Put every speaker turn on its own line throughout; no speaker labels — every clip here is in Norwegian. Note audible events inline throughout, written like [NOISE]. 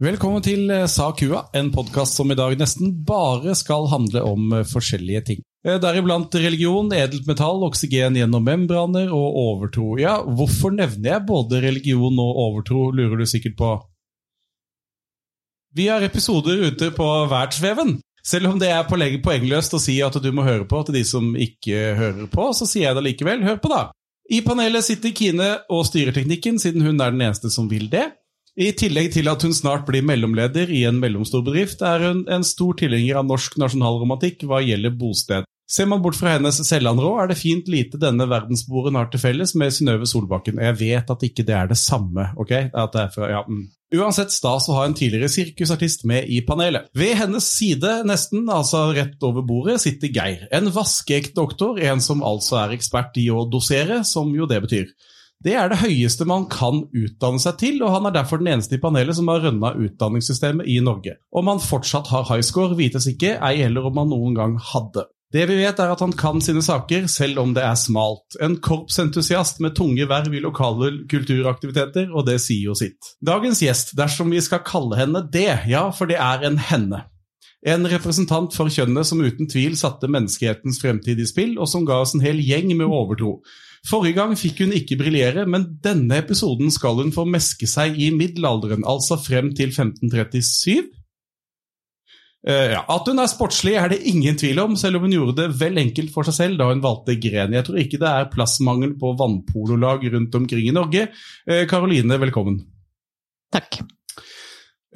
Velkommen til eh, Sa kua, en podkast som i dag nesten bare skal handle om eh, forskjellige ting. Eh, Deriblant religion, edelt metall, oksygen gjennom membraner og overtro. Ja, hvorfor nevner jeg både religion og overtro, lurer du sikkert på. Vi har episoder ute på verdensveven. Selv om det er pålegg- poengløst å si at du må høre på til de som ikke hører på, så sier jeg det likevel. Hør på, da! I panelet sitter Kine og styrer teknikken, siden hun er den eneste som vil det. I tillegg til at hun snart blir mellomleder i en mellomstor bedrift, er hun en stor tilhenger av norsk nasjonalromantikk hva gjelder bosted. Ser man bort fra hennes selvandrå, er det fint lite denne verdensboren har til felles med Synnøve Solbakken. Og jeg vet at ikke det er det samme, ok? At det er fra, ja, mm. Uansett stas å ha en tidligere sirkusartist med i panelet. Ved hennes side, nesten, altså rett over bordet, sitter Geir. En vaskeekt doktor, en som altså er ekspert i å dosere, som jo det betyr. Det er det høyeste man kan utdanne seg til, og han er derfor den eneste i panelet som har rønna utdanningssystemet i Norge. Om han fortsatt har highscore, vites ikke, ei heller om han noen gang hadde. Det vi vet er at han kan sine saker, selv om det er smalt. En korpsentusiast med tunge verv i lokale kulturaktiviteter, og det sier jo sitt. Dagens gjest, dersom vi skal kalle henne det, ja, for det er en henne. En representant for kjønnet som uten tvil satte menneskehetens fremtid i spill, og som ga oss en hel gjeng med overtro. Forrige gang fikk hun ikke briljere, men denne episoden skal hun få meske seg i middelalderen, altså frem til 1537. Eh, ja, At hun er sportslig er det ingen tvil om, selv om hun gjorde det vel enkelt for seg selv da hun valgte gren. Jeg tror ikke det er plassmangel på vannpololag rundt omkring i Norge. Eh, Karoline, velkommen.
Takk.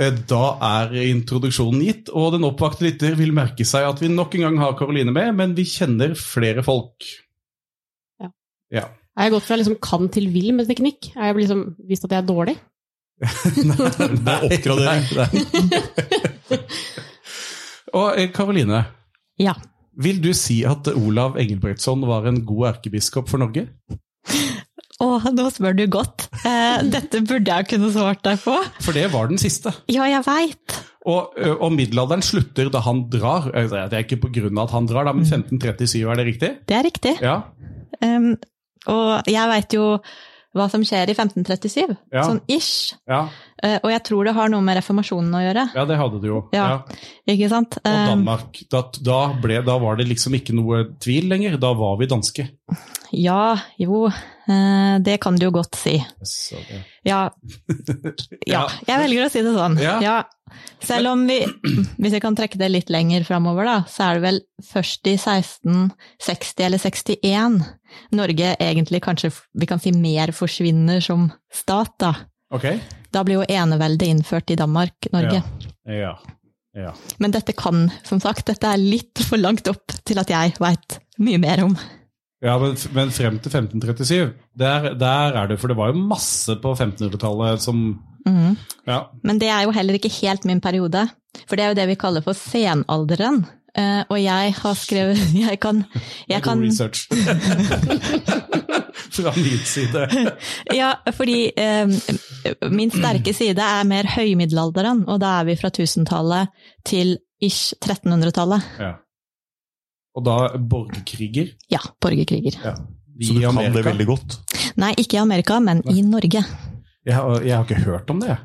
Eh, Da er introduksjonen gitt, og den oppvakte lytter vil merke seg at vi nok en gang har Karoline med, men vi kjenner flere folk.
Ja.
ja.
Jeg har gått fra liksom kan til vil med teknikk. Jeg har liksom vist at jeg er dårlig.
Det er oppgradering. [LAUGHS] Og eh, Karoline,
Ja.
vil du si at Olav Engelbrektsson var en god erkebiskop for Norge?
Åh, nå spør du godt. Eh, dette burde jeg kunne svart deg på.
For det var den siste.
Ja, jeg veit.
Og, ø, og middelalderen slutter da han drar. Eh, Det er ikke på grunn av at han drar, da,
Mm.
men 1537, er det riktig?
Det er riktig.
Ja.
Em, og jeg veit jo hva som skjer i 1537.
Ja.
Sånn ish.
Ja,
Eh, og jeg tror det har noe med reformasjonen å gjøre.
ja det hadde du jo.
Ja. eh, Ikke sant?
Og
Em,
Danmark. Da, da, ble, da var det liksom ikke noe tvil lenger. Da var vi danske.
ja, jo. eh, det kan du jo godt si.
Så, ja. [LAUGHS]
Ja.
Ja.
ja. Jeg velger å si det sånn.
Ja.
Selv om vi, [CLEARS THROAT] hvis vi kan trekke det litt lenger framover, da, så er det vel først i 1660 eller 61 Norge egentlig kanskje vi kan si mer forsvinner som stat, da.
Ok.
Da blir jo eneveldet innført i Danmark, Norge.
Ja. ja.
Men dette kan, som sagt, dette er litt for langt opp til at jeg veit mye mer om.
Ja, men, men frem til 1537, der, der er det, for det var jo masse på 1500-tallet som
Mhm.
Ja,
Men det er jo heller ikke helt min periode, for det er jo det vi kaller for senalderen. Eh, og jeg har skrevet [LAUGHS] Jeg kan, jeg
god
kan
research. [LAUGHS] Fra min side.
Ja, fordi eh, min sterke side er mer høymiddelalderen, og da er vi fra 1000-tallet til ish 1300-tallet.
Ja. Og da borgerkriger
Ja, borgerkriger.
i
Så du kan det
Amerika.
veldig godt.
Nei, ikke i Amerika, men i Norge.
Jeg, har- jeg har ikke hørt om det, jeg.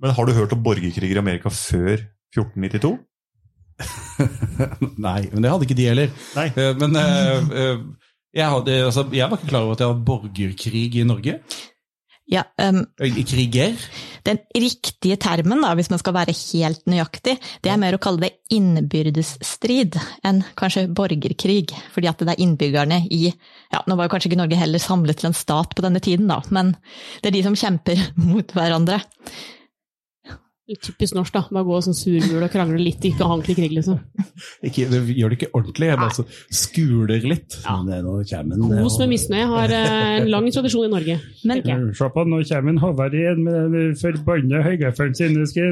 Men har du hørt om borgerkriger i Amerika før 1492?
[LAUGHS] Mm. Nei, men det hadde ikke de heller.
Nei.
Eh, Men [LAUGHS] eh, eh, jeg, hadde, altså, jeg var ikke klar over at det var borgerkrig i Norge.
Ja, em,
Eh, Kriger?
Den riktige termen, da, hvis man skal være helt nøyaktig, det er mer å kalle det innbyrdesstrid enn kanskje borgerkrig. Fordi at det er innbyggerne i ja, Nå var jo kanskje ikke Norge heller samlet til en stat på denne tiden, da, men det er de som kjemper [LAUGHS] mot hverandre.
Typisk norsk, da. Bare gå sånn surmul og krangle litt, ikke ordentlig krig, liksom.
Ikke, det gjør det ikke ordentlig. Jeg bare så skuler litt.
Ja.
Men, eh, nå kommer den, eh,
Kos
og-
med misnøye har eh, en lang tradisjon i Norge.
Men
tenker jeg.
Eh, Se på, nå kommer en Håvard igjen med den forbanna høygaffelen sin. Skal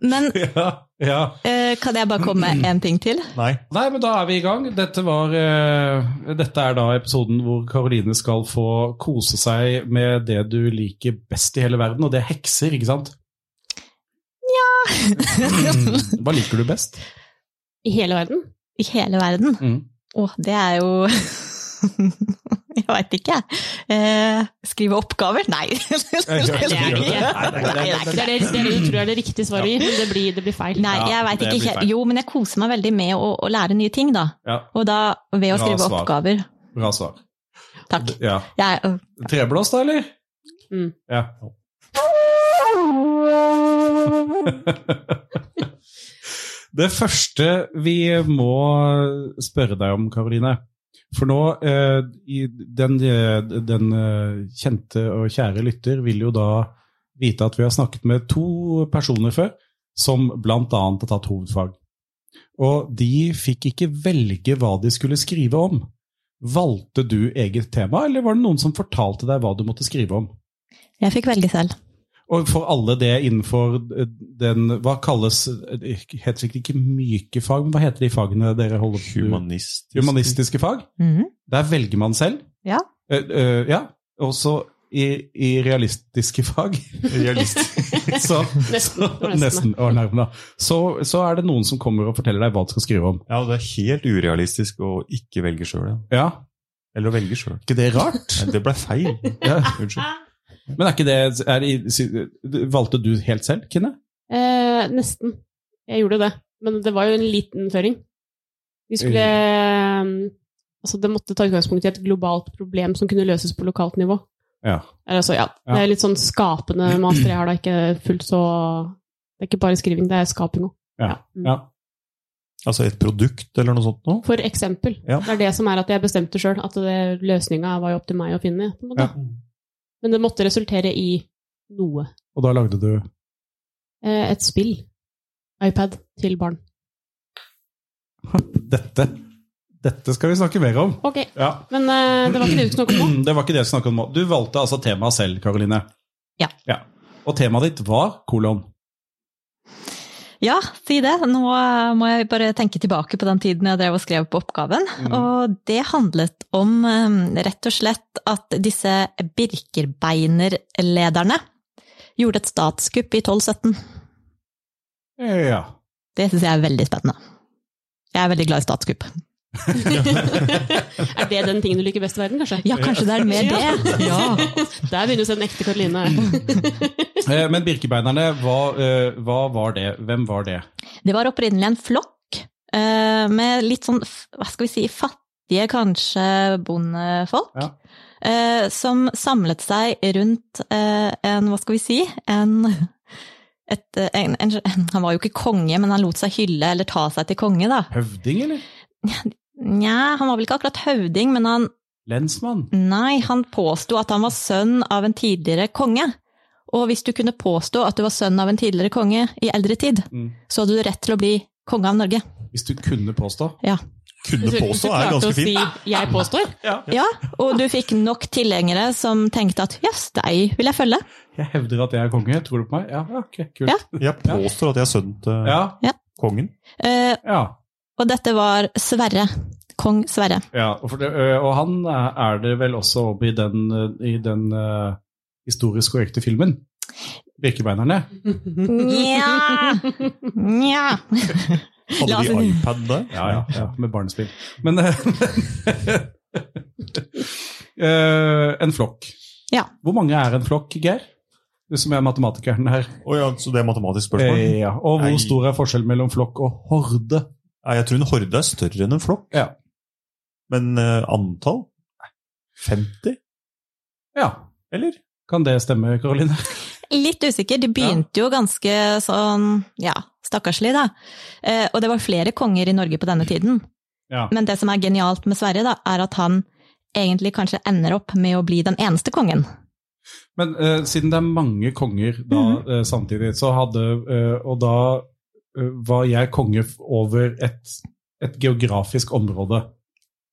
Men
[LAUGHS] Ja, ja.
eh, kan jeg bare komme med en ting til?
Nei.
Nei, men da er vi i gang. Dette, var, eh, dette er da episoden hvor Karoline skal få kose seg med det du liker best i hele verden, og det er hekser, ikke sant? Mm. Hva liker du best?
I hele verden.
I hele verden.
Mm.
Å, det er jo [LAUGHS] Jeg veit ikke. Eh, skrive oppgaver? Nei. [LAUGHS]
jeg
Det er det ikke. Det er det, det, er det du tror er det riktige svaret, Gir, men det blir, det blir feil.
Nei,
Ja,
jeg vet
det
ikke.
blir
helt-
feil.
Jo, men jeg koser meg veldig med å, å lære nye ting, da.
Ja.
Og da ved å
Bra
skrive
svar.
oppgaver.
Bra svar.
Takk.
Ja.
Jeg, øh,
Treblås, da, eller?
Mm.
Ja. [LAUGHS] Det første vi må spørre deg om, Karoline For nå eh, i den, eh, den eh, kjente og kjære lytter vil jo da vite at vi har snakket med to personer før som blant annet har tatt hovedfag. Og de fikk ikke velge hva de skulle skrive om. Valgte du eget tema, eller var det noen som fortalte deg hva du måtte skrive om?
jeg fikk velge selv.
Og for alle det innenfor eh, den Hva kalles Helt sikkert ikke myke fag, men hva heter de fagene dere holder på
Humanist.
Humanistiske fag?
Mhm.
Der velger man selv.
Ja.
Eh, eh, ja. Også i, i realistiske [LAUGHS] fag.
Realist.
Så,
Nesten. Det var nesten.
nesten, å, nærmere. så, så er det noen som kommer og forteller deg hva du skal skrive om.
[LAUGHS] Ja, og det er helt urealistisk å ikke velge sjøl. Ja.
Ja,
Eller å velge sjøl.
ikke det rart?
Det ble feil.
Ja.
Unnskyld.
Men er ikke det er, det- Valgte du helt selv, Kine?
Eh, nesten. Jeg gjorde det. Men det var jo en liten føring. Vi skulle
Mm.
eh, Altså, det måtte ta utgangspunkt i et globalt problem som kunne løses på lokalt nivå.
Ja.
Eller altså, ja.
Ja.
Det er litt sånn skapende master jeg har, da. Ikke fullt så Det er ikke bare skriving, det er skaping òg.
Ja. ja.
Altså et produkt eller noe sånt noe?
For eksempel.
Ja.
Det er det som er at jeg bestemte sjøl, at løsninga var jo opp til meg å finne. På en måte.
Ja.
Men det måtte resultere i noe.
Og da lagde du
Eh, et spill. iPad til barn.
Dette, dette skal vi snakke mer om.
Ok,
Ja.
men eh, det var ikke det du snakket om nå.
[CLEARS THROAT] Det var ikke det vi snakket om. nå. Du valgte altså temaet selv, Karoline.
Ja.
Og temaet ditt var kolon.
Ja, si det. Nå eh, må jeg bare tenke tilbake på den tiden jeg drev og skrev på oppgaven.
Mhm.
Og det handlet om eh, rett og slett at disse Birkerbeinerlederne gjorde et statskupp i 1217.
Eh, Ja.
Det syns jeg er veldig spennende. Jeg er veldig glad i statskupp.
er det den tingen du liker best i verden, kanskje?
Ja, kanskje det er mer
[LAUGHS]
det? Ja.
Der begynner du å se den ekte
[LAUGHS]
Karoline.
Eh, Men Birkebeinerne, hva, eh, hva var det? Hvem var det?
Det var opprinnelig en flokk eh, med litt sånn, f- hva skal vi si, fattige kanskje bondefolk.
Ja.
eh, Som samlet seg rundt eh, en, hva skal vi si, en, et, eh, en, en Han var jo ikke konge, men han lot seg hylle eller ta seg til konge, da.
Høvding, eller?
Nja, han var vel ikke akkurat høvding, men han
Lensmann?
Nei, han påsto at han var sønn av en tidligere konge. Og hvis du kunne påstå at du var sønn av en tidligere konge i eldre tid,
Mm.
så hadde du rett til å bli konge av Norge.
Hvis du kunne påstå.
Kunne påstå er ganske fint.
Si, jeg påstår.
Ja, og du fikk nok tilhengere som tenkte at jøss, deg vil jeg følge.
Jeg hevder at jeg er konge, tror du på meg? Ja, ja, ok, kult.
Ja.
Jeg påstår at jeg er sønnen til
Ja,
kongen.
Eh,
ja.
og dette var Sverre. Kong Sverre.
ja. Og, for det, ø, og han er er det vel også oppe i den, ø, i den ø, historisk korrekte filmen? Birkebeinerne?
Nja, nja. La
Hadde
oss-
de iPad der?
Ja, ja, ja med barnespill. Men eh, [LAUGHS] eh, En flokk.
Ja.
Hvor mange er en flokk, Geir? Du som er matematikeren her.
Å ja, så det er matematisk spørsmål?
Eh, ja. Og hvor
Nei.
stor er forskjellen mellom flokk og horde?
Nei, jeg tror en horde er større enn en flokk.
Ja.
Men eh, antall? 50,
Ja,
eller?
kan det stemme, Karoline?
Litt usikker. De begynte jo ganske sånn, ja, stakkarslig, da. Eh, og det var flere konger i Norge på denne tiden.
Ja.
Men det som er genialt med Sverre, da, er at han egentlig kanskje ender opp med å bli den eneste kongen.
[LAUGHS] Men eh, siden det er mange konger da, eh, samtidig, så hadde eh, Og da eh, var jeg konge f- over et, et geografisk område.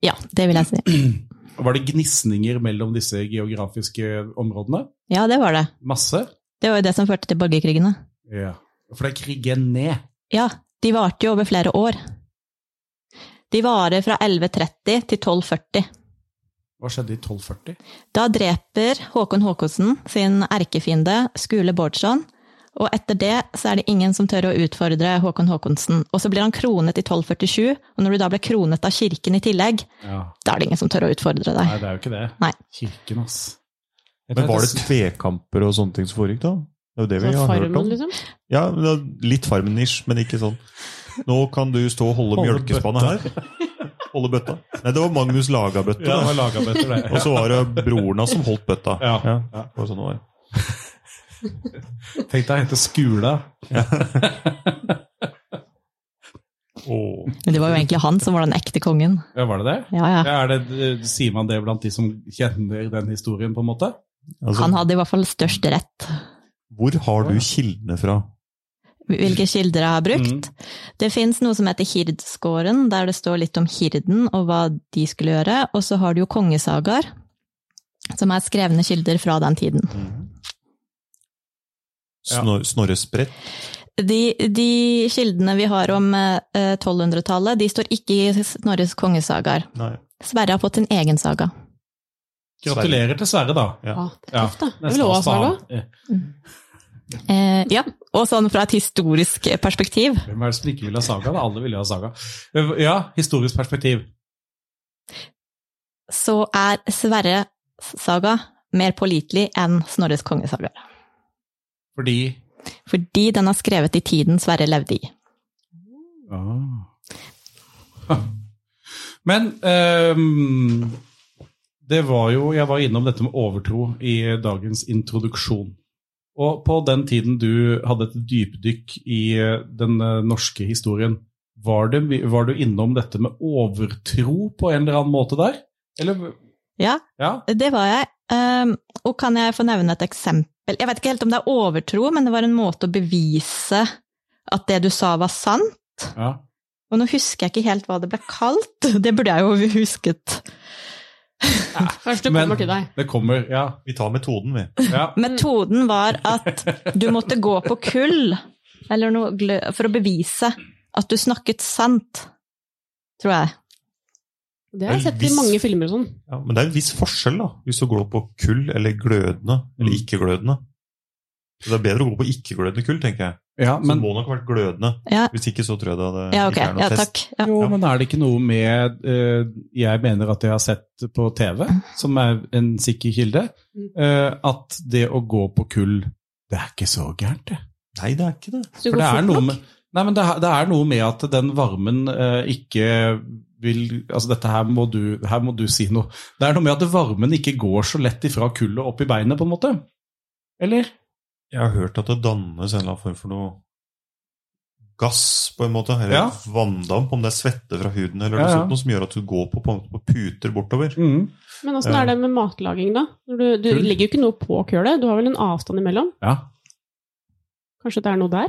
Ja, det vil jeg si.
Var det gnisninger mellom disse geografiske områdene?
Ja, det var det.
Masse?
Det var jo det som førte til borgerkrigene.
Ja. For det er krigen ned.
Ja, de varte jo over flere år. De varer fra 1130 til 1240.
Hva skjedde i 1240?
Da dreper Håkon Håkonsen sin erkefiende Skule Bårdsson, og etter det så er det ingen som tør å utfordre Håkon Håkonsen. Og så blir han kronet i 1247, og når du da ble kronet av kirken i tillegg,
Ja.
da er det ingen som tør å utfordre deg.
Nei, det er jo ikke det.
Nei.
Kirken, ass. Jeg
Men
tror
var
jeg-
det tvekamper og sånne ting som foregikk da? Det er jo altså. det vi
Så
har hørt
farmen,
om.
liksom.
Ja, men det er Litt Farmen-ish, men ikke sånn. Nå kan du stå og holde,
Holde
mjølkespannet her. Holde bøtta. Nei, det var Magnus Laga-bøtta.
Ja, det var laget etter [LAUGHS] det.
Og så var det broren hans som holdt bøtta.
Ja.
det var sånn det var.
Tenk deg å hente skula.
Åh.
Men det var jo egentlig han som var den ekte kongen.
Ja, var det det?
Ja, ja.
Ja, er det? eh, Sier man det blant de som kjenner den historien, på en måte?
Altså,
Han hadde i hvert fall størst rett.
hvor har du kildene fra?
Hvilke kilder jeg har brukt. Det fins noe som heter Hirdskåren, der det står litt om hirden og hva de skulle gjøre. Og så har du jo kongesagaer, som er skrevne kilder fra den tiden.
Mm. Ja.
Snor Snorre Sprett?
De, de kildene vi har om eh, 1200-tallet, de står ikke i Snorres kongesagaer.
Nei.
Sverre har fått sin egen saga.
Gratulerer til Sverre, da.
Ja.
Ah, det er
Ja.
tøft, da. Jeg vil også ha saga.
Eh,
Eh, ja, og sånn fra et historisk perspektiv.
Hvem er det som ikke vil ha saga? da? Alle vil jo ha saga. Eh, Ja, historisk perspektiv.
så er Sverres saga mer pålitelig enn Snorres kongesagaer.
Fordi
Fordi den er skrevet i tiden Sverre levde i.
Ah. [LAUGHS] Men ehm, det var jo Jeg var innom dette med overtro i dagens introduksjon. Og på den tiden du hadde et dypdykk i eh, den eh, norske historien, var, det, my- var du innom dette med overtro på en eller annen måte der? Eller
Ja,
Ja?
det var jeg. Ehm, og kan jeg få nevne et eksempel? Jeg vet ikke helt om det er overtro, men det var en måte å bevise at det du sa var sant.
ja.
Og nå husker jeg ikke helt hva det ble kalt. [LAUGHS] Det burde jeg jo husket.
Først det
Men-
kommer til deg.
Det kommer, ja.
Vi tar metoden, vi.
ja.
[LAUGHS]
Metoden var at du måtte gå på kull eller noe, glø- for å bevise at du snakket sant, tror jeg.
Det har jeg sett i
Elvis.
mange filmer og sånn.
Ja, men det er en viss forskjell, da. Hvis du går på kull eller glødende, eller
Mm.
ikke-glødende. Så det er bedre å gå på ikke-glødende kull, tenker jeg.
ja
Så det
men,
må nok ha vært glødende.
Ja,
Hvis ikke, så tror jeg det hadde
ja ok.
ikke er noe
Ja,
test.
takk. Ja.
Jo, men er det ikke noe med eh, Jeg mener at jeg har sett på TV, som er en sikker kilde, eh, at det å gå på kull, det er ikke så gærent, det.
Nei, det er ikke det.
Så du
For
går
det er
fort
noe
nok.
med, nei, men det, er- det er noe med at den varmen eh, ikke vil Altså, dette her må, du, her må du si noe. Det er noe med at varmen ikke går så lett ifra kullet opp i beinet, på en måte. Eller?
Jeg har hørt at det dannes en eller annen form for noe gass, på en måte. Eller
Ja.
vanndamp, om det er svette fra huden eller
Ja,
noe
ja.
sånt, noe som gjør at du går på, på, en måte på puter bortover.
Mm.
Men åssen er det med matlaging, da? Når Du, du
Kull.
legger jo ikke noe på kølet, du har vel en avstand imellom?
Ja.
Kanskje det er noe der?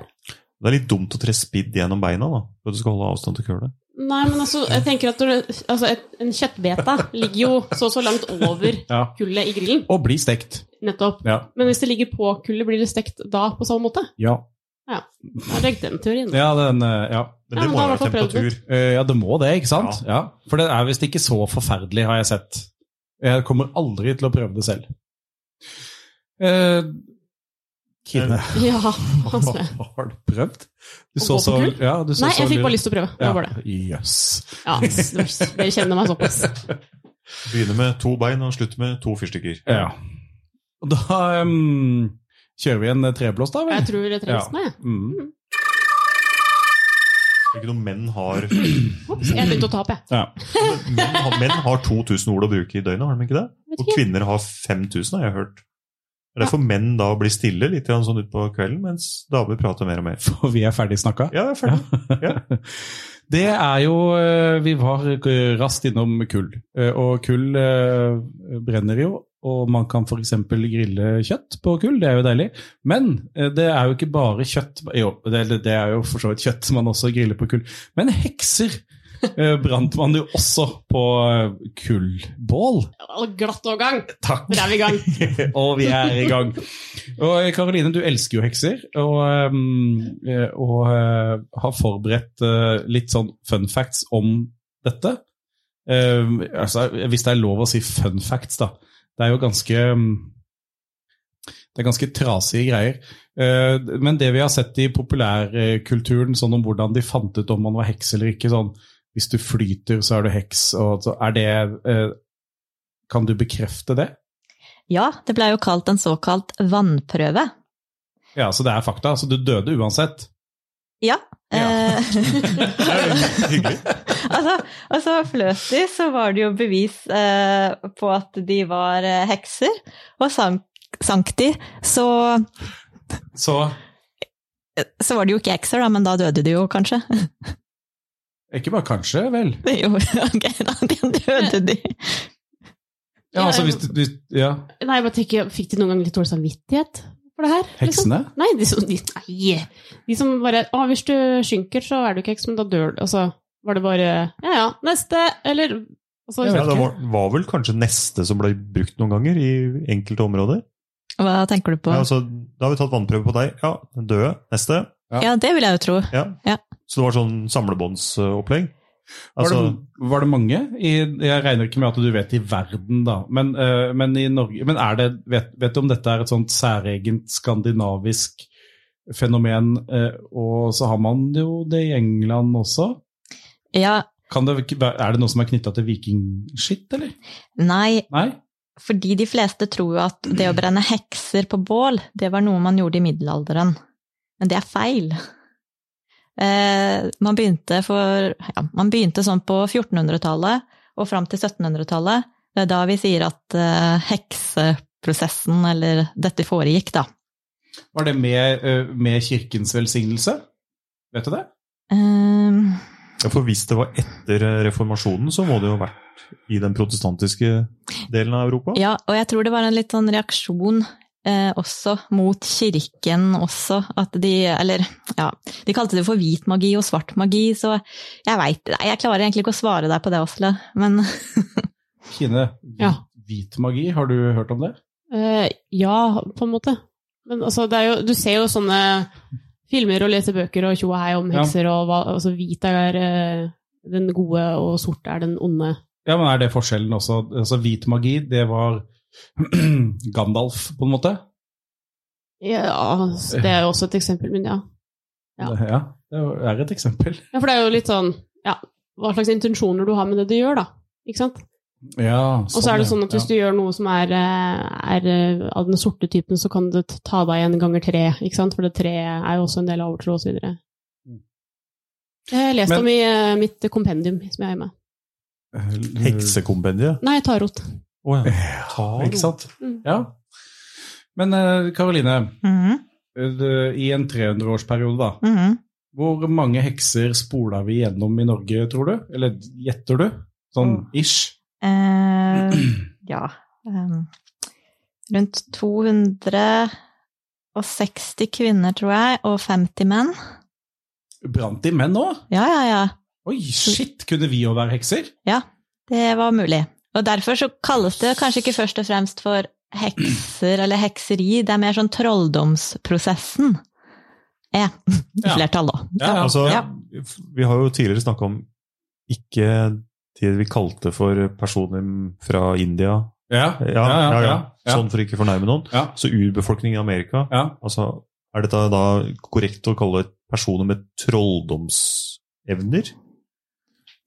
Det er litt dumt å tre spidd gjennom beina, da. For at du skal holde avstand til kølet.
Nei, men altså, jeg tenker at når det, altså, et, en kjøttbeta ligger jo så og så langt over
ja.
kullet i grillen,
Og bli stekt.
nettopp.
Ja.
Men hvis det ligger på kullet, blir det stekt da på samme måte?
Ja.
Da er det den teorien.
ja, den, eh, ja.
Men
Ja,
det
men da
må jo
har
være
man fått prøvd
temperatur.
Eh, Ja, det må det, ikke sant? Ja. For det er visst ikke så forferdelig, har jeg sett. Jeg kommer aldri til å prøve det selv. Eh, Kine, [LAUGHS]
Ja, altså.
har du prøvd? Du
Eh,
så
Å gå på
så
kull?
ja, du [LAUGHS] så
Nei,
så
jeg fikk
lur-
bare lyst til å prøve. Det
ja.
var bare det.
Jøss.
Ja, s- dere kjenner meg såpass.
Begynner med to bein og slutter med to fyrstikker.
Ja. Og Da em, kjører vi en eh, treblås, da,
Jeg
vel?
tror jeg
Ja.
trenger nesten jeg.
Mm. [LAUGHS]
Det er ikke noe menn har
Ops, jeg begynte å ta opp, jeg.
Ja.
menn, har- menn har 2000 ord å bruke i døgnet, har de ikke det?
Vet
Og
ikke.
kvinner har 5000, har jeg hørt. Det er derfor menn da blir stille litt grann sånn utpå kvelden, mens damer prater mer og mer.
For vi er ferdig snakka?
Ja, jeg er ferdig.
Det er jo eh, Vi var raskt innom kull. Eh, Og kull eh, brenner jo, og man kan f.eks. grille kjøtt på kull. Det er jo deilig. Men eh, det er jo ikke bare kjøtt Jo, det det er jo for så vidt kjøtt man også griller på kull. Men hekser eh, brant man jo også på eh, kullbål.
Å, Glatt overgang!
Takk.
Der er vi i gang.
[LAUGHS] og vi er i gang. Og eh, Karoline, du elsker jo hekser, og, ehm, eh, og eh, har forberedt eh, litt sånn fun facts om dette. Eh, Ehm, altså, hvis det er lov å si fun facts, da. Det er jo ganske ehm, mm, Det er ganske trasige greier. Eh, Men det vi har sett i populærkulturen, sånn om hvordan de fant ut om man var heks eller ikke, sånn hvis du flyter, så er du heks, og så er det eh, Kan du bekrefte det?
Ja, det ble jo kalt en såkalt vannprøve.
Ja, så det er fakta. Så du døde uansett.
Ja.
Ja.
Eh,
[LAUGHS]
[LAUGHS]
Det er jo hyggelig.
altså, altså fløt de, så var det jo bevis eh, på at de var eh, hekser. Og sank, sank de, så,
Så
så var de jo ikke hekser, da, men da døde de jo kanskje. [LAUGHS]
ikke bare kanskje, vel?
jo, ok, da [LAUGHS] døde de.
Ja,
Ja,
altså
jeg-
hvis du hvis, Ja,
Nei, jeg bare tenker, Fikk de noen gang litt dårlig samvittighet for det her? liksom?
heksene?
Nei, de som, de, nei, de som bare Å, hvis du synker, så er du ikke heks, men da dør du. Og så var det bare Ja ja, neste! Eller altså,
Ja, det var, var vel kanskje neste som ble brukt noen ganger i enkelte områder.
Hva tenker du på?
Ja, altså, da har vi tatt vannprøve på deg. Ja, den døde. Neste.
ja.
Ja, det vil jeg jo tro.
Ja.
Ja.
Så det var sånn samlebåndsopplegg.
Var,
Altså,
det, var det mange? I, jeg regner ikke med at du vet i verden, da. Men, eh, men i Norge men er det, vet, vet du om dette er et sånt særegent skandinavisk fenomen? eh, og så har man jo det i England også.
Ja,
Kan det, ikke være- er det noe som er knytta til vikingskitt, eller?
nei,
Nei?
fordi de fleste tror jo at det å brenne hekser på bål, det var noe man gjorde i middelalderen. Men det er feil. Eh, man begynte for ja, Man begynte sånn på 1400-tallet og fram til 1700-tallet. Det er da vi sier at eh, hekseprosessen, eller dette foregikk, da.
Var det med, eh, med kirkens velsignelse? Vet du det?
Eh,
ja, for hvis det var etter reformasjonen, så må det jo ha vært i den protestantiske delen av Europa.
Ja, og jeg tror det var en litt sånn reaksjon eh, også mot kirken også, at de Eller ja, de kalte det for hvit magi og svart magi, så jeg veit Nei, jeg klarer egentlig ikke å svare deg på det, Åsle, men [LAUGHS]
Kine, hvit,
Ja.
hvit magi, har du hørt om det?
Eh, ja, på en måte. Men altså, det er jo, du ser jo sånne filmer og leser bøker og tjo og hei om
Ja.
hekser, og hva, altså, hvit er eh, den gode, og sort er den onde.
Ja, men Er det forskjellen også? Altså, Hvit magi, det var [CLEARS THROAT] Gandalf, på en måte.
Ja, så det er jo også et eksempel, men ja. Ja.
Det- ja det er et eksempel.
ja. For det er jo litt sånn ja, hva slags intensjoner du har med det du gjør, da. Ikke sant?
Ja,
Og så er det sånn at hvis
ja.
du gjør noe som er, eh, er eh, av den sorte typen, så kan det ta deg igjen ganger tre, ikke sant? For det tre er jo også en del av overtro og så videre.
Mm.
Jeg har lest
Men-
om i eh, mitt kompendium som jeg har med.
Mm.
Heksekompendiet.
Nei, tarot.
Oh, ja.
Ikke sant?
Mm.
Ja. Men eh, Karoline,
mhm,
eh, du- i en 300-årsperiode, da.
mhm.
Hvor mange hekser spola vi gjennom i Norge, tror du? Eller gjetter du?
Mm.
Sånn ish?
eh, Ja. em, rundt 260 kvinner, tror jeg, og 50 menn.
Brant de menn òg?
Ja, ja, ja.
Oi,
Mm.
shit! Kunne vi òg være hekser?
Det var mulig. Og derfor så kalles det kanskje ikke først og fremst for hekser eller hekseri, det er mer sånn trolldomsprosessen. Ja, i
Ja.
flertall da.
Ja,
Altså,
Ja.
Vi har jo tidligere snakka om ikke det vi kalte for personer fra India.
Ja,
Ja, ja, ja,
ja.
Sånn for ikke å fornærme noen.
Ja.
Så urbefolkningen i Amerika.
ja.
Altså, er dette da korrekt å kalle personer med trolldomsevner?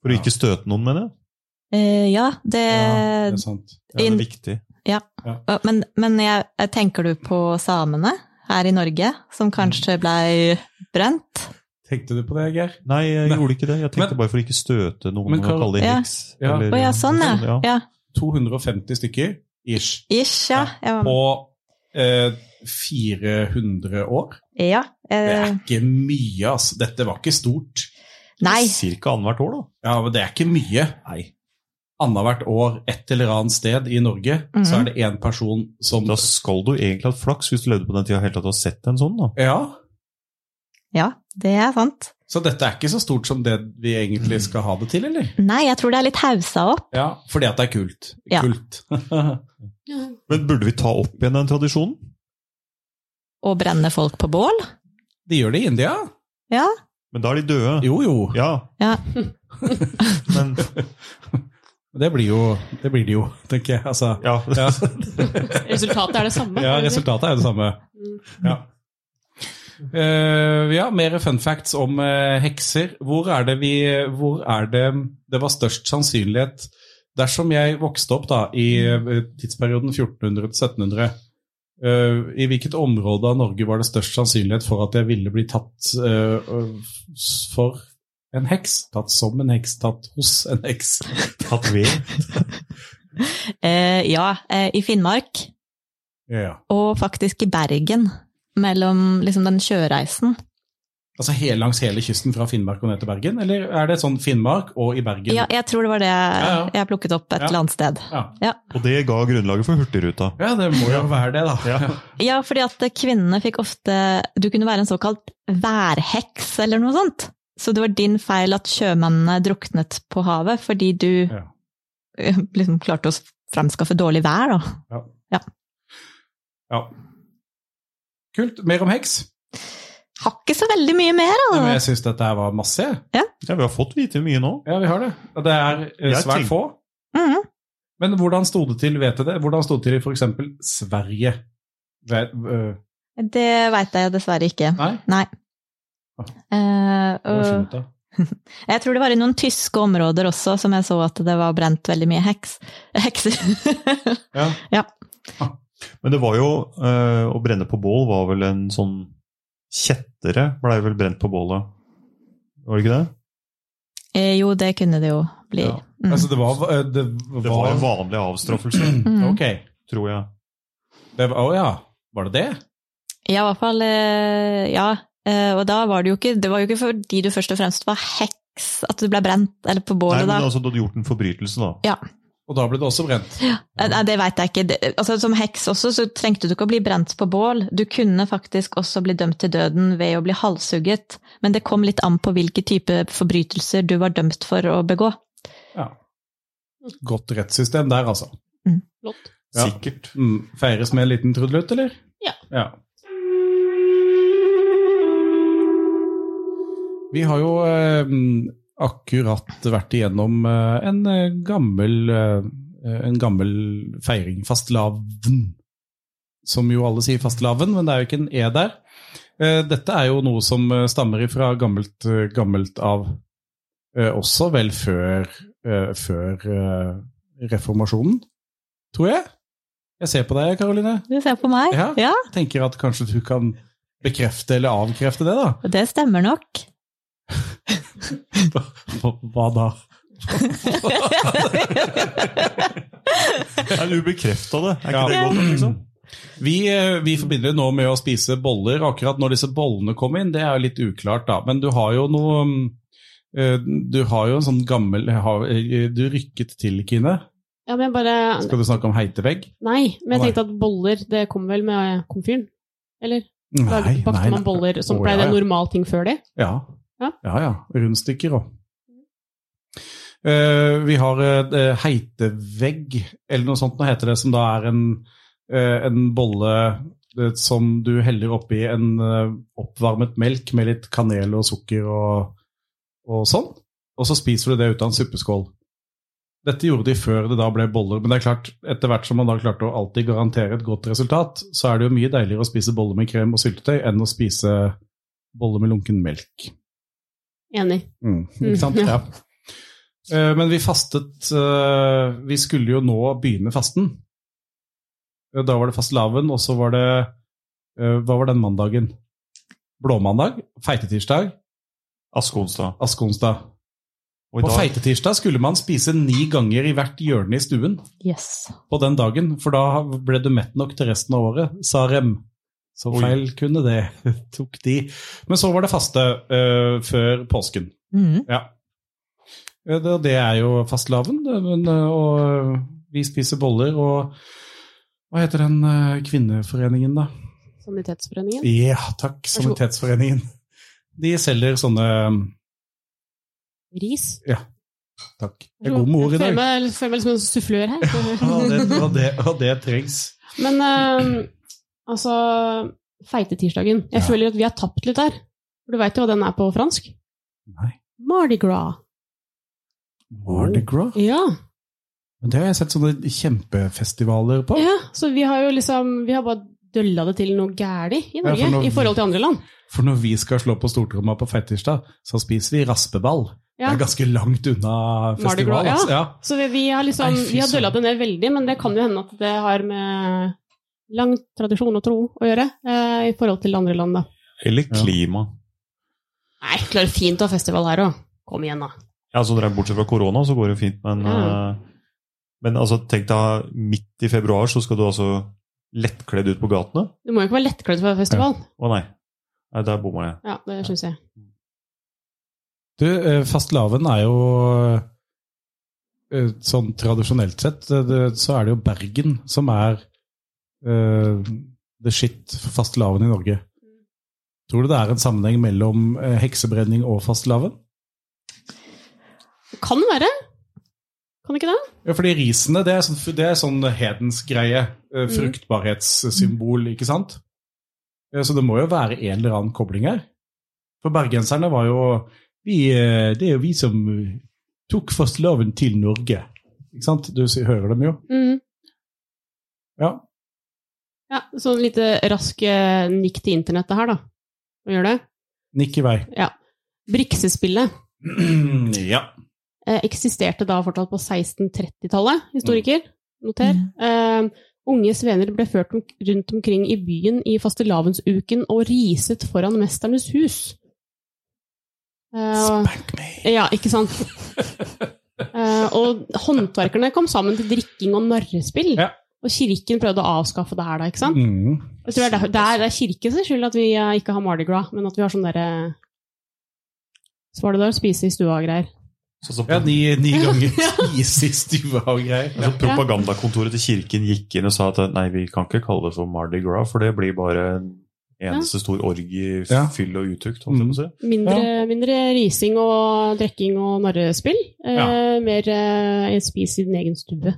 For å
Ja.
ikke støte noen, mener jeg.
Eh, ja, det, Eh,
Ja, det er sant.
Ja, det
In-
er viktig.
Å, Men, men jeg, jeg tenker du på samene her i Norge, som
Mm.
kanskje blei brent?
Tenkte du på det, Geir?
Nei, jeg
Nei.
gjorde ikke det. Jeg tenkte
Men-
bare for å ikke støte noen
Men
og
Karl-
kalle det
Ja.
heks.
Ja.
eller-
Å ja, sånn ja. ja.
250 stykker ish
Ish, ja. Jeg var,
på eh, 400 år.
ja.
Det er
Eh,
ikke mye, altså. Dette var ikke stort.
nei.
Cirka annethvert år, da.
Ja, men det er ikke mye. Nei. Annethvert år, et eller annet sted i Norge, så
Mhm.
er det én person som
Da skal du egentlig ha flaks hvis du levde på den tida helt at du har sett en sånn, da.
Ja.
Ja, det er sant.
Så dette er ikke så stort som det vi egentlig skal ha det til, eller?
Nei, jeg tror det er litt hausa opp.
Mm. Ja, fordi at det er kult.
Ja.
Kult. [LAUGHS]
Men burde vi ta opp igjen den tradisjonen?
Å brenne folk på bål?
De gjør det i India.
Ja.
[LAUGHS] Men da er de døde.
Jo, jo.
Ja.
Ja.
Men
Det blir jo det blir det jo, [LAUGHS] tenker jeg. Altså,
Ja. [LAUGHS]
ja. [LAUGHS]
Resultatet er det samme.
ja,
er det ikke?
resultatet er det samme.
Mm.
Ja. Eh, ja, mer fun facts om eh, hekser. Hvor er det vi Hvor er det det var størst sannsynlighet Dersom jeg vokste opp da i eh, tidsperioden 1400-1700, Eh, i hvilket område av Norge var det størst sannsynlighet for at jeg ville bli tatt eh, for en heks? Tatt som en heks, tatt hos en heks.
Tatt ved.
Eh, ja, eh, i Finnmark,
Ja.
og faktisk i Bergen, mellom liksom den sjøreisen.
Altså hele, langs hele kysten fra Finnmark og ned til Bergen? Eller er det sånn Finnmark og i Bergen?
Ja, jeg tror det var det
Ja, ja.
jeg plukket opp et
Ja.
eller annet sted.
Ja.
Og det ga grunnlaget for Hurtigruta.
Ja, det må jo være det, da.
Ja.
Ja, fordi at kvinnene fikk ofte Du kunne være en såkalt værheks eller noe sånt. Så det var din feil at sjømennene druknet på havet fordi du
Ja.
eh, [LAUGHS] liksom klarte å framskaffe dårlig vær, da.
Ja. Kult. Mer om heks.
Har ikke så veldig mye mer,
Ja, men
da.
jeg syns dette her var masse. jeg.
Ja, vi har fått vite mye nå.
Ja, vi har det. Og Det er eh,
Jeg
svært
tenk-
få.
Mhm.
Men hvordan sto det til, vet jeg det? Hvordan sto det til i for eksempel Sverige? Vet, øh,
Det veit jeg dessverre ikke.
nei?
Eh,
Det var
og-
skjønt, da.
Jeg tror det var i noen tyske områder også som jeg så at det var brent veldig mye heks. [LAUGHS] hekser.
Ja.
Men det var jo eh, Å brenne på bål var vel en sånn Kjettere blei vel brent på bålet. Var det ikke det?
Eh, jo, det kunne det jo bli.
Ja.
Mm.
Altså, det var eh, Det var,
Det var en vanlig avstraffelse,
[CLEARS THROAT]
Mm.
Ok.
tror jeg.
Det var- Å ja. Var det det?
Ja, i hvert fall eh, Ja. Eh, og da var det jo ikke Det var jo ikke fordi du først og fremst var heks at du ble brent, eller på
Nei,
bålet,
men
da.
altså, du hadde gjort en forbrytelse,
[LAUGHS]
da.
Og da ble det også brent.
Eh, Nei, det veit jeg ikke. Det, altså, som heks også, så trengte du ikke å bli brent på bål. Du kunne faktisk også bli dømt til døden ved å bli halshugget. Men det kom litt an på hvilke type forbrytelser du var dømt for å begå.
Godt rettssystem der, altså.
Flott.
Ja.
Sikkert.
Mm. Feires med en liten trudelutt, eller?
Ja.
Vi har jo eh, akkurat vært igjennom eh, en eh, gammel eh, en gammel feiring, fastelavn. Som jo alle sier fastelavn, men det er jo ikke en e der. Eh, Dette er jo noe som eh, stammer ifra gammelt, eh, gammelt av eh, også vel før, eh, før eh, reformasjonen, tror jeg. Jeg ser på deg, Karoline.
Du ser på meg.
Ja.
ja.
Tenker at kanskje du kan bekrefte eller avkrefte det, da.
Og det stemmer nok.
Hva da?
Nei, du bekrefta det. Er ikke
Ja.
det godt, liksom?
Vi, eh, vi forbinder det nå med å spise boller. Akkurat når disse bollene kom inn, det er jo litt uklart, da. Men du har jo noe mm, eh, Du har jo en sånn gammel har- eh, Du rykket til, Kine.
Ja, men jeg bare
Skal du snakke om heitevegg?
Nei, men jeg
Nei.
tenkte at boller, det kom vel med eh, komfyren? Eller? Lagde,
Nei,
bakte
nei,
man boller som
Å,
ble
ja,
en
ja.
normal ting før det?
Ja.
Ja.
ja, ja. Rundstykker òg. vi har eh, heitevegg, eller noe sånt nå heter det, som da er en, eh, en bolle eh, som du heller oppi en eh, oppvarmet melk med litt kanel og sukker og, og sånn. Og så spiser du det ut av en suppeskål. Dette gjorde de før det da ble boller, men det er klart, etter hvert som man da klarte å alltid garantere et godt resultat, så er det jo mye deiligere å spise boller med krem og syltetøy enn å spise boller med lunken melk.
Enig.
Mm. Ikke sant?
Mm,
Ja. Eh, Men vi fastet eh, Vi skulle jo nå begynne fasten. Eh, Da var det fastelavn, og så var det eh, Hva var den mandagen? Blåmandag, feitetirsdag,
Askeonsdag.
askeonsdag.
Og i
På
dag
feitetirsdag skulle man spise ni ganger i hvert hjørne i stuen
Yes.
på den dagen, for da ble du mett nok til resten av året, sa Rem. Så
Oi.
feil kunne det, [LAUGHS] tok de. Men så var det faste eh, før påsken.
Mm.
Ja. Ja, Det, det er jo fastelavn, det, men, eh, og eh, vi spiser boller, og hva heter den eh, kvinneforeningen, da?
Sanitetsforeningen.
Ja, takk,
så god.
Sanitetsforeningen. De selger sånne mm,
Ris.
Takk. Jeg er god med ord i
Jeg føler
dag.
meg- føler meg som en sufflør her.
[LAUGHS] Ja, det, og, det, og det trengs.
Men eh, altså Feitetirsdagen. Jeg
Ja.
føler at vi har tapt litt der. For du veit jo hva den er på fransk?
Nei.
Mardi Gras.
Mardi Gras?
Ja.
Men det har jeg sett sånne kjempefestivaler på.
Ja, så vi har jo liksom Vi har bare dølla det til noe gæli i Norge
for nå-
i forhold til andre land.
For når vi skal slå på stortromma på fettirsdag, så spiser vi raspeball. Det
Ja.
er ganske langt unna
Mardi
festival.
Gras,
altså. Ja.
Så vi, vi har liksom
Nei, fy
Vi har
søren.
dølla det ned veldig, men det kan jo hende at det har med lang tradisjon og tro å gjøre eh, i forhold til andre land, da.
Eller
Ja.
klima.
Nei, klarer fint å ha festival her òg. Kom igjen, da.
Ja, altså, dere er Bortsett fra korona, så går det fint, men
Ja.
eh, Men altså, tenk deg midt i februar, så skal du altså lettkledd ut på gatene?
Du må jo ikke være lettkledd for festival.
Å nei. nei der bomma jeg.
Ja, det syns jeg.
Du, eh, fastelavn er jo eh, Sånn tradisjonelt sett eh, det, så er det jo Bergen som er eh, the shit for fastelavn i Norge. Tror du det er en sammenheng mellom eh, heksebrenning og fastelavn?
Det kan være. Kan det ikke det?
Ja, fordi risene, det er sånn, det er sånn hedensgreie. eh, Fruktbarhetssymbol, ikke sant? Ja, så det må jo være en eller annen kobling her. For bergenserne var jo vi, eh, Det er jo vi som tok fastelavn til Norge. Ikke sant? Du s- hører dem jo.
Mm.
Ja.
Ja, sånn lite rask eh, nikk til internettet her, da. Hva gjør det?
Nikk i vei.
Briksespillet
[CLEARS THROAT] ja.
eh, eksisterte da fortsatt på 1630-tallet, historiker. Noter.
Mm.
Eh, unge svener ble ført om, rundt omkring i byen i fastelavnsuken og riset foran mesternes hus. Eh,
Spank me.
Ja, ikke sant? Eh, og håndverkerne kom sammen til drikking og narrespill.
Ja.
Og kirken prøvde å avskaffe det her, da, ikke sant?
Mm.
Jeg tror det, er, der- det, er, det er kirken sin skyld at vi eh, ikke har Mardi Gras, men at vi har sånn derre Så var det der å spise i stua og greier.
Så, så,
Ja, ni, ni ganger spise i stua og greier.
altså, propagandakontoret til kirken gikk inn og sa at nei, vi kan ikke kalle det for Mardi Gras, for det blir bare en eneste stor orgie,
Ja. Mm.
fyll og utukt. Holdt jeg på å si.
Mindre, mindre rising og drikking og narrespill. Eh,
Ja.
Mer eh, spis i din egen stue.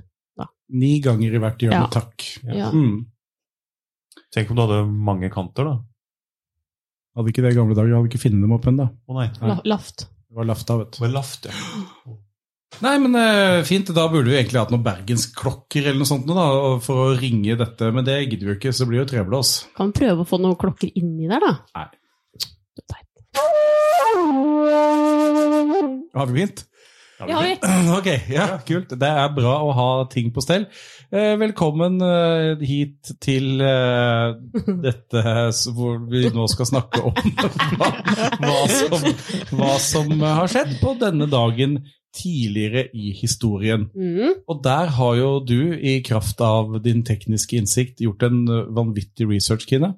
Ni ganger i hvert hjørne,
Ja.
takk.
Ja.
Mm.
Tenk om du hadde mange kanter, da.
Hadde ikke det i gamle dager, hadde ikke funnet dem opp ennå.
Å nei.
Ja.
La, laft.
Det var lafta, vet du.
Det var laft, ja.
Nei, men eh, fint. Da burde vi egentlig hatt noen bergensklokker eller noe sånt nå, da, og- for å ringe dette, men det gidder vi jo ikke, så det blir jo treblås.
Kan prøve å få noen klokker inni der, da.
Nei.
Det er teit.
Har vi begynt?
Det har vi.
[CLEARS THROAT] Ok, ja, kult. Det er bra å ha ting på stell. Eh, velkommen eh, hit til eh, dette eh, s- hvor vi nå skal snakke om [LAUGHS] hva, hva, som, hva som eh, har skjedd på denne dagen tidligere i historien.
Mm.
Og der har jo du, i kraft av din tekniske innsikt, gjort en eh, vanvittig research, Kine.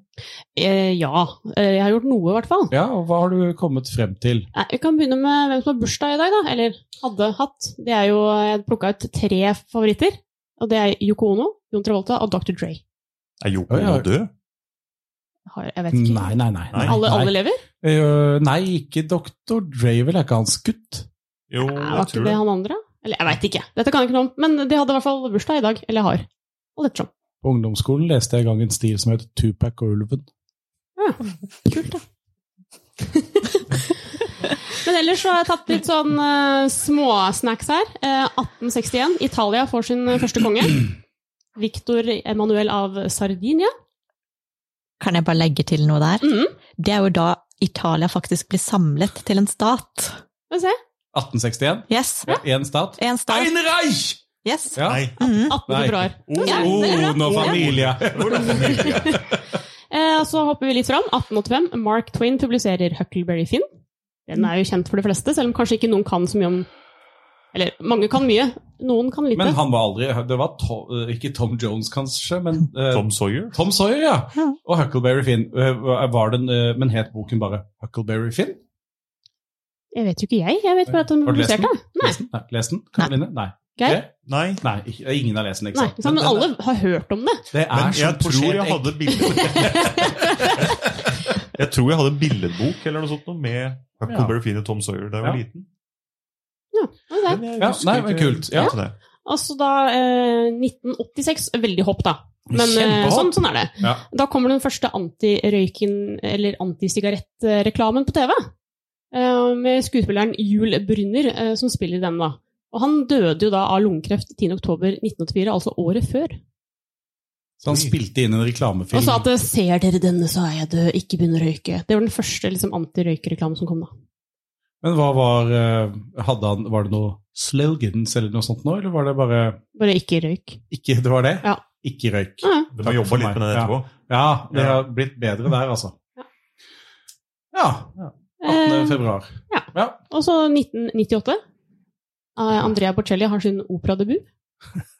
Eh, ja. Eh, jeg har gjort noe, i hvert fall.
Ja, og hva har du kommet frem til?
Nei, Vi kan begynne med hvem som har bursdag i dag, da. Eller hadde hatt. Det er jo, Jeg plukka ut tre favoritter. Og det er Yoko Ono, Jon Travolta og Dr. Dre.
Er Joko
Oi, oi.
nå død?
Har, jeg vet ikke.
Nei, nei, nei. nei,
alle, alle
nei.
lever?
Eh, nei ikke Dr. Dravel, er ikke han skutt?
Jo,
Nei,
jeg
var ikke
tror
det
det.
han andre? Eller jeg veit ikke. Dette kan jeg ikke noe om. Men de hadde i hvert fall bursdag i dag. Eller har. Og dette sånn.
På ungdomsskolen leste jeg en gang en stil som het Tupac og ulven.
Kult, da. [LAUGHS] Men ellers så har jeg tatt litt sånn eh, småsnacks her. Eh, 1861. Italia får sin eh, første konge. [CLEARS THROAT] Victor Emanuel av Sardinia.
Kan jeg bare legge til noe der?
Mm.
Det er jo da Italia faktisk blir samlet til en stat.
Skal vi se.
1861.
Yes.
Ja. En stat.
En stat.
Ein Reich!
Yes. Mm.
Ja.
Nei.
18. februar. [LAUGHS]
Oh,
Ja, det er bra.
nå familie!
Eh, så hopper vi litt fram. 1885. Mark Twain publiserer Huckleberry Finn. Den er jo kjent for de fleste, selv om kanskje ikke noen kan så mye om Eller mange kan mye, noen kan lite.
Men han var aldri Det var Tom, eh, ikke Tom Jones, kanskje, men eh,
Tom Sawyer?
Tom Sawyer, ja.
Ja.
Og Huckleberry Finn. Eh, Var den, eh, men het boken bare Huckleberry Finn?
Jeg vet jo ikke jeg. Jeg vet bare at han
Har du lest
publiserte den. Nei.
Lest den? Nei. Lest den? Karoline? Nei.
Geir?
Ok?
Nei.
Nei, ikke- ingen har lest den, ikke
Nei,
sant?
sant? Men
den-
alle har hørt om det.
Det er
Men jeg
som
tror
posjert
jeg
egg.
hadde bilder [LAUGHS] Jeg tror jeg hadde en billedbok eller noe sånt noe med Huckleberry Finn og Tom Sawyer da jeg var
Ja.
liten.
Det er det.
Men jeg
Ja,
husker
nei, men
ikke-
kult. Ja.
til det.
Altså da eh, 1986. Veldig hopp, da. Men eh,
Kjempehopp.
sånn, sånn er det.
Ja.
Da kommer den første antirøyken- eller antisigarettreklamen på TV. eh, Med skuespilleren Jul Brynner eh, som spiller i den. da. Og han døde jo da av lungekreft 10.10.1984, altså året før.
Så han
Oi.
spilte inn en
Og
reklamefilm.
sa at eh, 'ser dere denne, så er jeg død, ikke begynn å røyke'. Det var den første liksom, antirøykereklamen som kom da.
Men hva var eh, hadde han, Var det noe slogans eller noe sånt nå, eller var det bare
Bare ikke røyk.
Ikke det var det?
Ja.
Ikke røyk.
Ja.
Du
Takk
må
for
jobbe
meg.
litt med den
Ja.
etterpå.
Ja, det
Ja.
har blitt bedre der, altså. Ja. 18.
Eh,
februar.
og så 1998. Eh, Andrea Bocelli har sin operadebut.
[LAUGHS]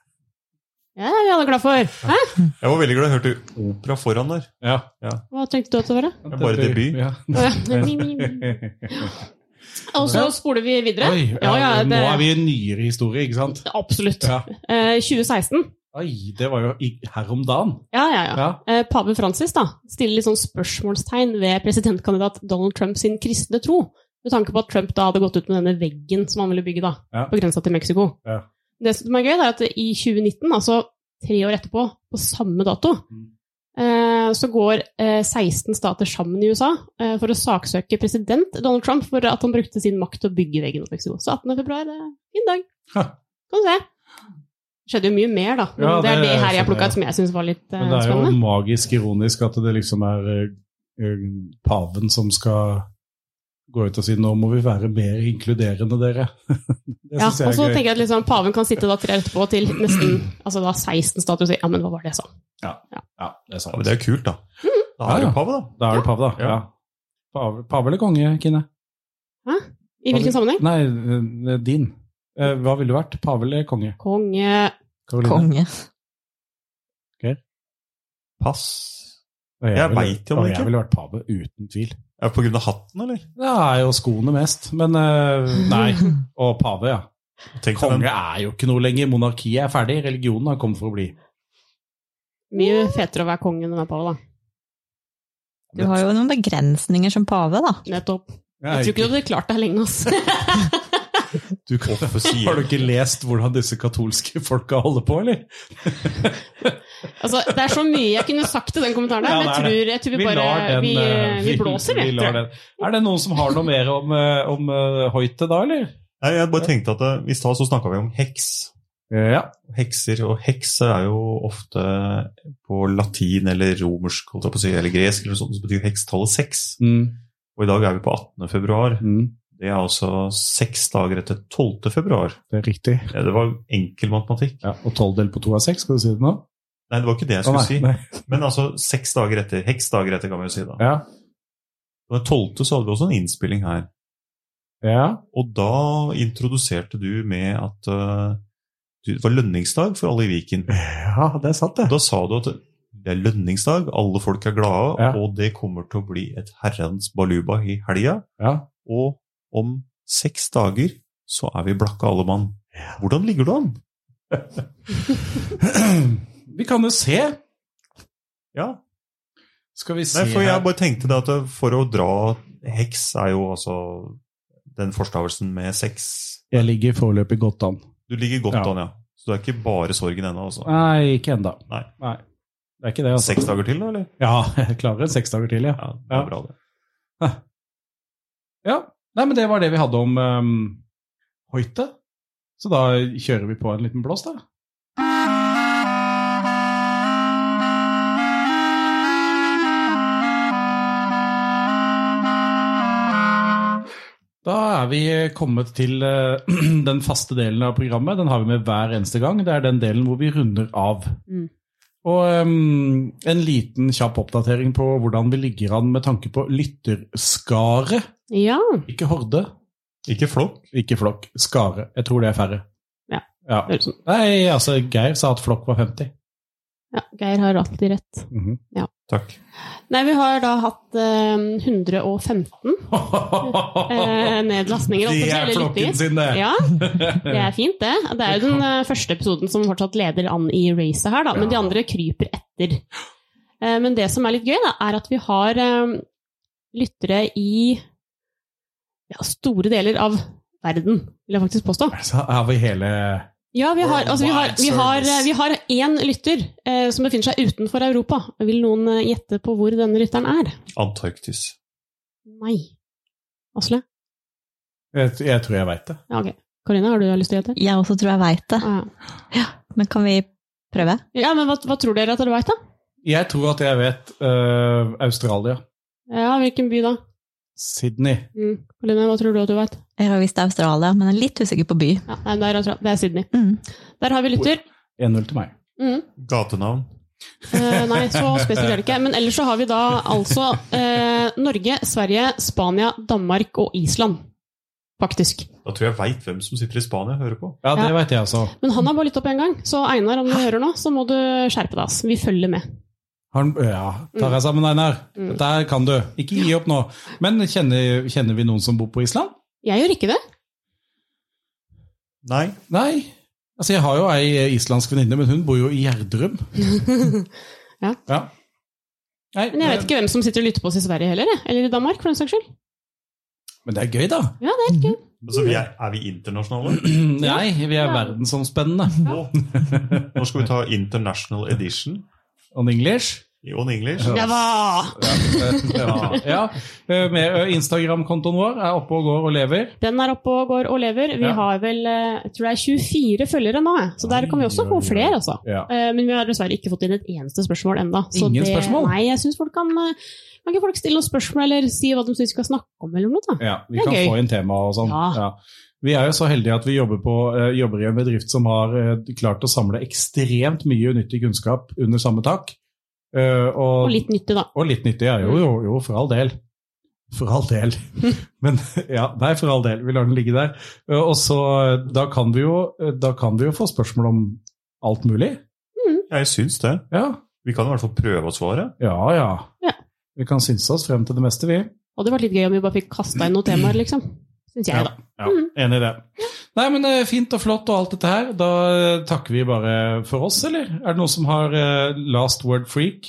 Ja, vi er alle glad for. Hæ?
Jeg var veldig glad jeg hørte opera foran der.
Ja.
Hva tenkte du at det var? da?
Oh. Bare
[LAUGHS]
debut.
Ja.
Å, ja. Og så spoler vi videre.
Oi, ja,
Ja, ja, det-
Nå er vi i en nyere historie, ikke sant?
Absolutt.
Ja.
Eh, 2016.
Oi, det var jo i, her om dagen.
Ja, ja, ja.
Ja.
Eh, Pave Francis da, stiller litt sånn spørsmålstegn ved presidentkandidat Donald Trump sin kristne tro, med tanke på at Trump da hadde gått ut med denne veggen som han ville bygge da,
Ja.
på grensa til Mexico.
Ja.
Det som er gøy, det er at i 2019, altså tre år etterpå, på samme dato,
Mm.
eh, så går eh, 16 stater sammen i USA eh, for å saksøke president Donald Trump for at han brukte sin makt til å bygge veggen mot Mexico. Så 18. februar, det er en fin dag.
Ha.
Kan du se. Det skjedde jo mye mer da, men
Ja,
det er
det
det her jeg
skjønner jeg.
plukket ut som jeg synes var litt eh,
Men det er jo
spennende.
magisk ironisk at det liksom er eh, eh, paven som skal gå ut og si 'nå må vi være mer inkluderende, dere'. [LAUGHS] det
Ja,
syns
og så
jeg er gøy.
tenker jeg at liksom, paven kan sitte da tre år etterpå til nesten altså da 16 statuer og si ja, men hva var det jeg sa?
Ja, det er
Ja, men
sant.
det er jo kult, da. Da
Ja,
er det
ja.
jo pave, da.
Da er det pave, da.
Ja.
Ja. Pave, pave eller konge, Kine?
I hvilken sammenheng?
Nei, eh, din. Eh, Hva ville du vært? Pave eller konge?
Konge
Karoline?
Konge.
Pass.
Og
Jeg
ville-
vet jo om
og
ikke.
Jeg ville vært pave, uten tvil.
Er det på grunn av hatten, eller?
Det er jo skoene mest, men eh, Nei.
[LAUGHS]
Og pave, ja.
Tenk deg
Konge
den.
er jo ikke noe lenger. Monarkiet er ferdig. Religionen har kommet for å bli.
Mye fetere å være konge enn å være pave, da.
Du har jo noen begrensninger som pave, da.
Nettopp. Jeg tror ikke du hadde klart deg lenge, altså. ass.
Du kan få si
[LAUGHS] Har du ikke lest hvordan disse katolske folka holder på, eller?
[LAUGHS] altså, det er så mye jeg kunne sagt til den kommentaren der,
Ja,
men jeg
det
tror, jeg tror vi bare
den,
vi,
eh,
vi
[LAUGHS]
blåser,
vi
vi.
lar
tror jeg.
den. Er det noen som har noe mer om, eh, om eh, Hoite da, eller?
Nei, jeg bare tenkte at eh, i stad så snakka vi om heks.
Eh, Ja.
Hekser og hekser er jo ofte på latin eller romersk holdt jeg på å si, eller gresk eller noe sånt, så betyr heks tallet seks.
Mm,
Og i dag er vi på 18. februar.
mm,
Det er altså seks dager etter 12. februar.
det er riktig.
Ja, Det var enkel matematikk.
Ja, og tolv delt på to er seks, skal du si det nå?
Nei, det var ikke det
Å,
jeg skulle
nei, nei.
si. Men altså seks dager etter. Heksdager etter, kan vi jo si da.
Ja.
På den 12. så hadde vi også en innspilling her.
ja.
Og da introduserte du med at eh, du- det var lønningsdag for alle i Viken.
Ja, det er sant,
Og
det.
Da sa du at det er lønningsdag, alle folk er glade,
Ja.
og det kommer til å bli et herrens baluba i helga.
Ja. [CLEARS THROAT]
Og om seks dager så er vi blakke alle mann. Hvordan ligger du an?
Vi kan jo se.
Ja,
Skal vi se
Nei, for jeg
her.
bare tenkte det at det- for å dra heks er jo altså den forstavelsen med sex.
Jeg ligger foreløpig godt an.
Du ligger godt
Ja.
an, ja. Så det er ikke bare sorgen ennå, altså.
Nei, ikke ennå.
Nei.
Det er ikke det, altså.
Seks dager til, da, eller?
Ja, [LAUGHS] jeg klarer en seks dager til, ja.
Ja, det
Ja.
er bra, det.
Ja, nei, men det var det vi hadde om um, Hoite. Så da kjører vi på en liten blås, da. Da er vi kommet til eh, [CLEARS THROAT] den faste delen av programmet. Den har vi med hver eneste gang. Det er den delen hvor vi runder av.
Mm.
Og em, en liten kjapp oppdatering på hvordan vi ligger an med tanke på lytterskare.
Ja.
Ikke horde,
Ikke flokk.
ikke flokk. Skare. Jeg tror det er færre.
Ja.
Ja.
det høres sånn.
Nei, altså, Geir sa at flokk var 50.
ja. Geir har alltid rett.
Mhm.
Takk.
Nei, vi har da hatt eh, 115 eh, nedlastninger.
Det
altså,
er
eller lyttinger.
flokken sin, det!
Ja, det er fint det. Det er jo den eh, første episoden som fortsatt leder an i racet her, da, men de
Ja.
andre kryper etter. Eh, Men det som er litt gøy, da, er at vi har eh, lyttere i ja, store deler av verden, vil jeg faktisk påstå.
Så har vi hele
Ja, vi har, altså, vi har, vi har, eh, vi har én lytter eh, som befinner seg utenfor Europa. Vil noen eh, gjette på hvor denne lytteren er?
Antarktis.
Nei. Asle?
Jeg, jeg tror jeg veit det.
Ja, ok. Karina, har du lyst til å gjette?
Jeg også tror jeg veit det.
Ja.
Men kan vi prøve?
ja, men hva, hva tror dere at dere veit, da?
Jeg tror at jeg vet øh, Australia.
Ja, hvilken by da?
Sydney.
Mm. Karina, hva tror du at du veit?
Jeg har visst Australia, men er litt usikker på by.
Ja, nei, det er, Australia. det er Sydney.
Mm.
Der har vi lytter.
1-0 til meg.
Mm.
Gatenavn.
Eh, nei, så spesifikt er det ikke. Men ellers så har vi da altså eh, Norge, Sverige, Spania, Danmark og Island. Faktisk.
Da tror jeg veit hvem som sitter i Spania og hører på.
Ja, det
Ja.
vet jeg også.
Men han har bare lytta på én gang, så Einar, om du hører nå, så må du skjerpe deg. ass. Vi følger med.
Har den- ja, tar deg sammen, Einar.
Mm.
Dette her kan du. Ikke gi opp nå. Men kjenner, kjenner vi noen som bor på Island?
Jeg gjør ikke det.
Nei.
Nei. Altså, jeg har jo ei islandsk venninne, men hun bor jo i Gjerdrum.
[LAUGHS] Ja.
Nei,
Men jeg vet ikke hvem som sitter og lytter på oss i Sverige heller, jeg. eller i Danmark, for den saks skyld.
Men det er gøy, da. [CLEARS THROAT]
Ja, det er helt gøy.
Så Altså, vi er, er vi internasjonale?
Nei, vi er verdensomspennende.
Nå. Nå skal vi ta International Edition
On English.
i On English.
Ja. [LAUGHS]
Det var
Ja, ja. Eh, med- eh, Instagram-kontoen vår er oppe og går og lever.
Den er oppe og går og lever. Vi
Ja.
har vel eh, jeg tror det er 24 følgere nå, jeg. så der kan vi også
Oi,
få
oi, oi.
flere. altså.
Mm. Ja.
Eh, Men vi har dessverre ikke fått inn et eneste spørsmål ennå.
Ingen spørsmål?
Nei, jeg synes folk kan eh, Kan ikke folk stille noen spørsmål eller si hva de syns vi skal snakke om, eller noe? da?
Ja, vi
Det er
kan
gøy.
få inn tema og sånn.
Ja.
Ja. Vi er jo så heldige at vi jobber, på, eh, jobber i en bedrift som har eh, klart å samle ekstremt mye nyttig kunnskap under samme tak. Eh, og,
Og litt nyttig, da.
og litt nyttig, ja. Jo, jo, jo, for all del. For all [LAUGHS] del. Men ja, nei, for all del. Vi lar den ligge der. Eh, og så eh, da kan, vi jo, eh, da kan vi jo få spørsmål om alt mulig.
Jeg syns det.
Ja,
Vi kan i hvert fall prøve å svare.
ja. ja.
Ja.
Vi kan synse oss frem til det meste, vi.
Og det hadde vært litt gøy om vi bare fikk kasta inn noen temaer, liksom. Syns jeg, da.
Ja, Mm. ja, enig i det. Nei, men eh, Fint og flott og alt dette her. Da eh, takker vi bare for oss, eller? Er det noen som har eh, last word [LAUGHS] freak?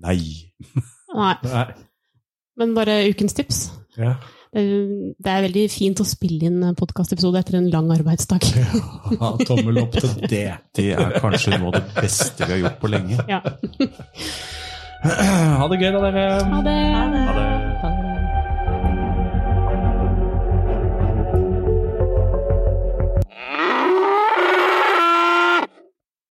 Nei.
Nei.
Nei.
Men bare ukens tips.
Ja.
Det er- det er veldig fint å spille inn en podkastepisode etter en lang arbeidsdag.
Ha tommel opp til det.
Det er kanskje noe av det beste vi har gjort på lenge.
Ja.
[CLEARS THROAT] Ha det gøy, da, dere.
Ha det.
Ha det.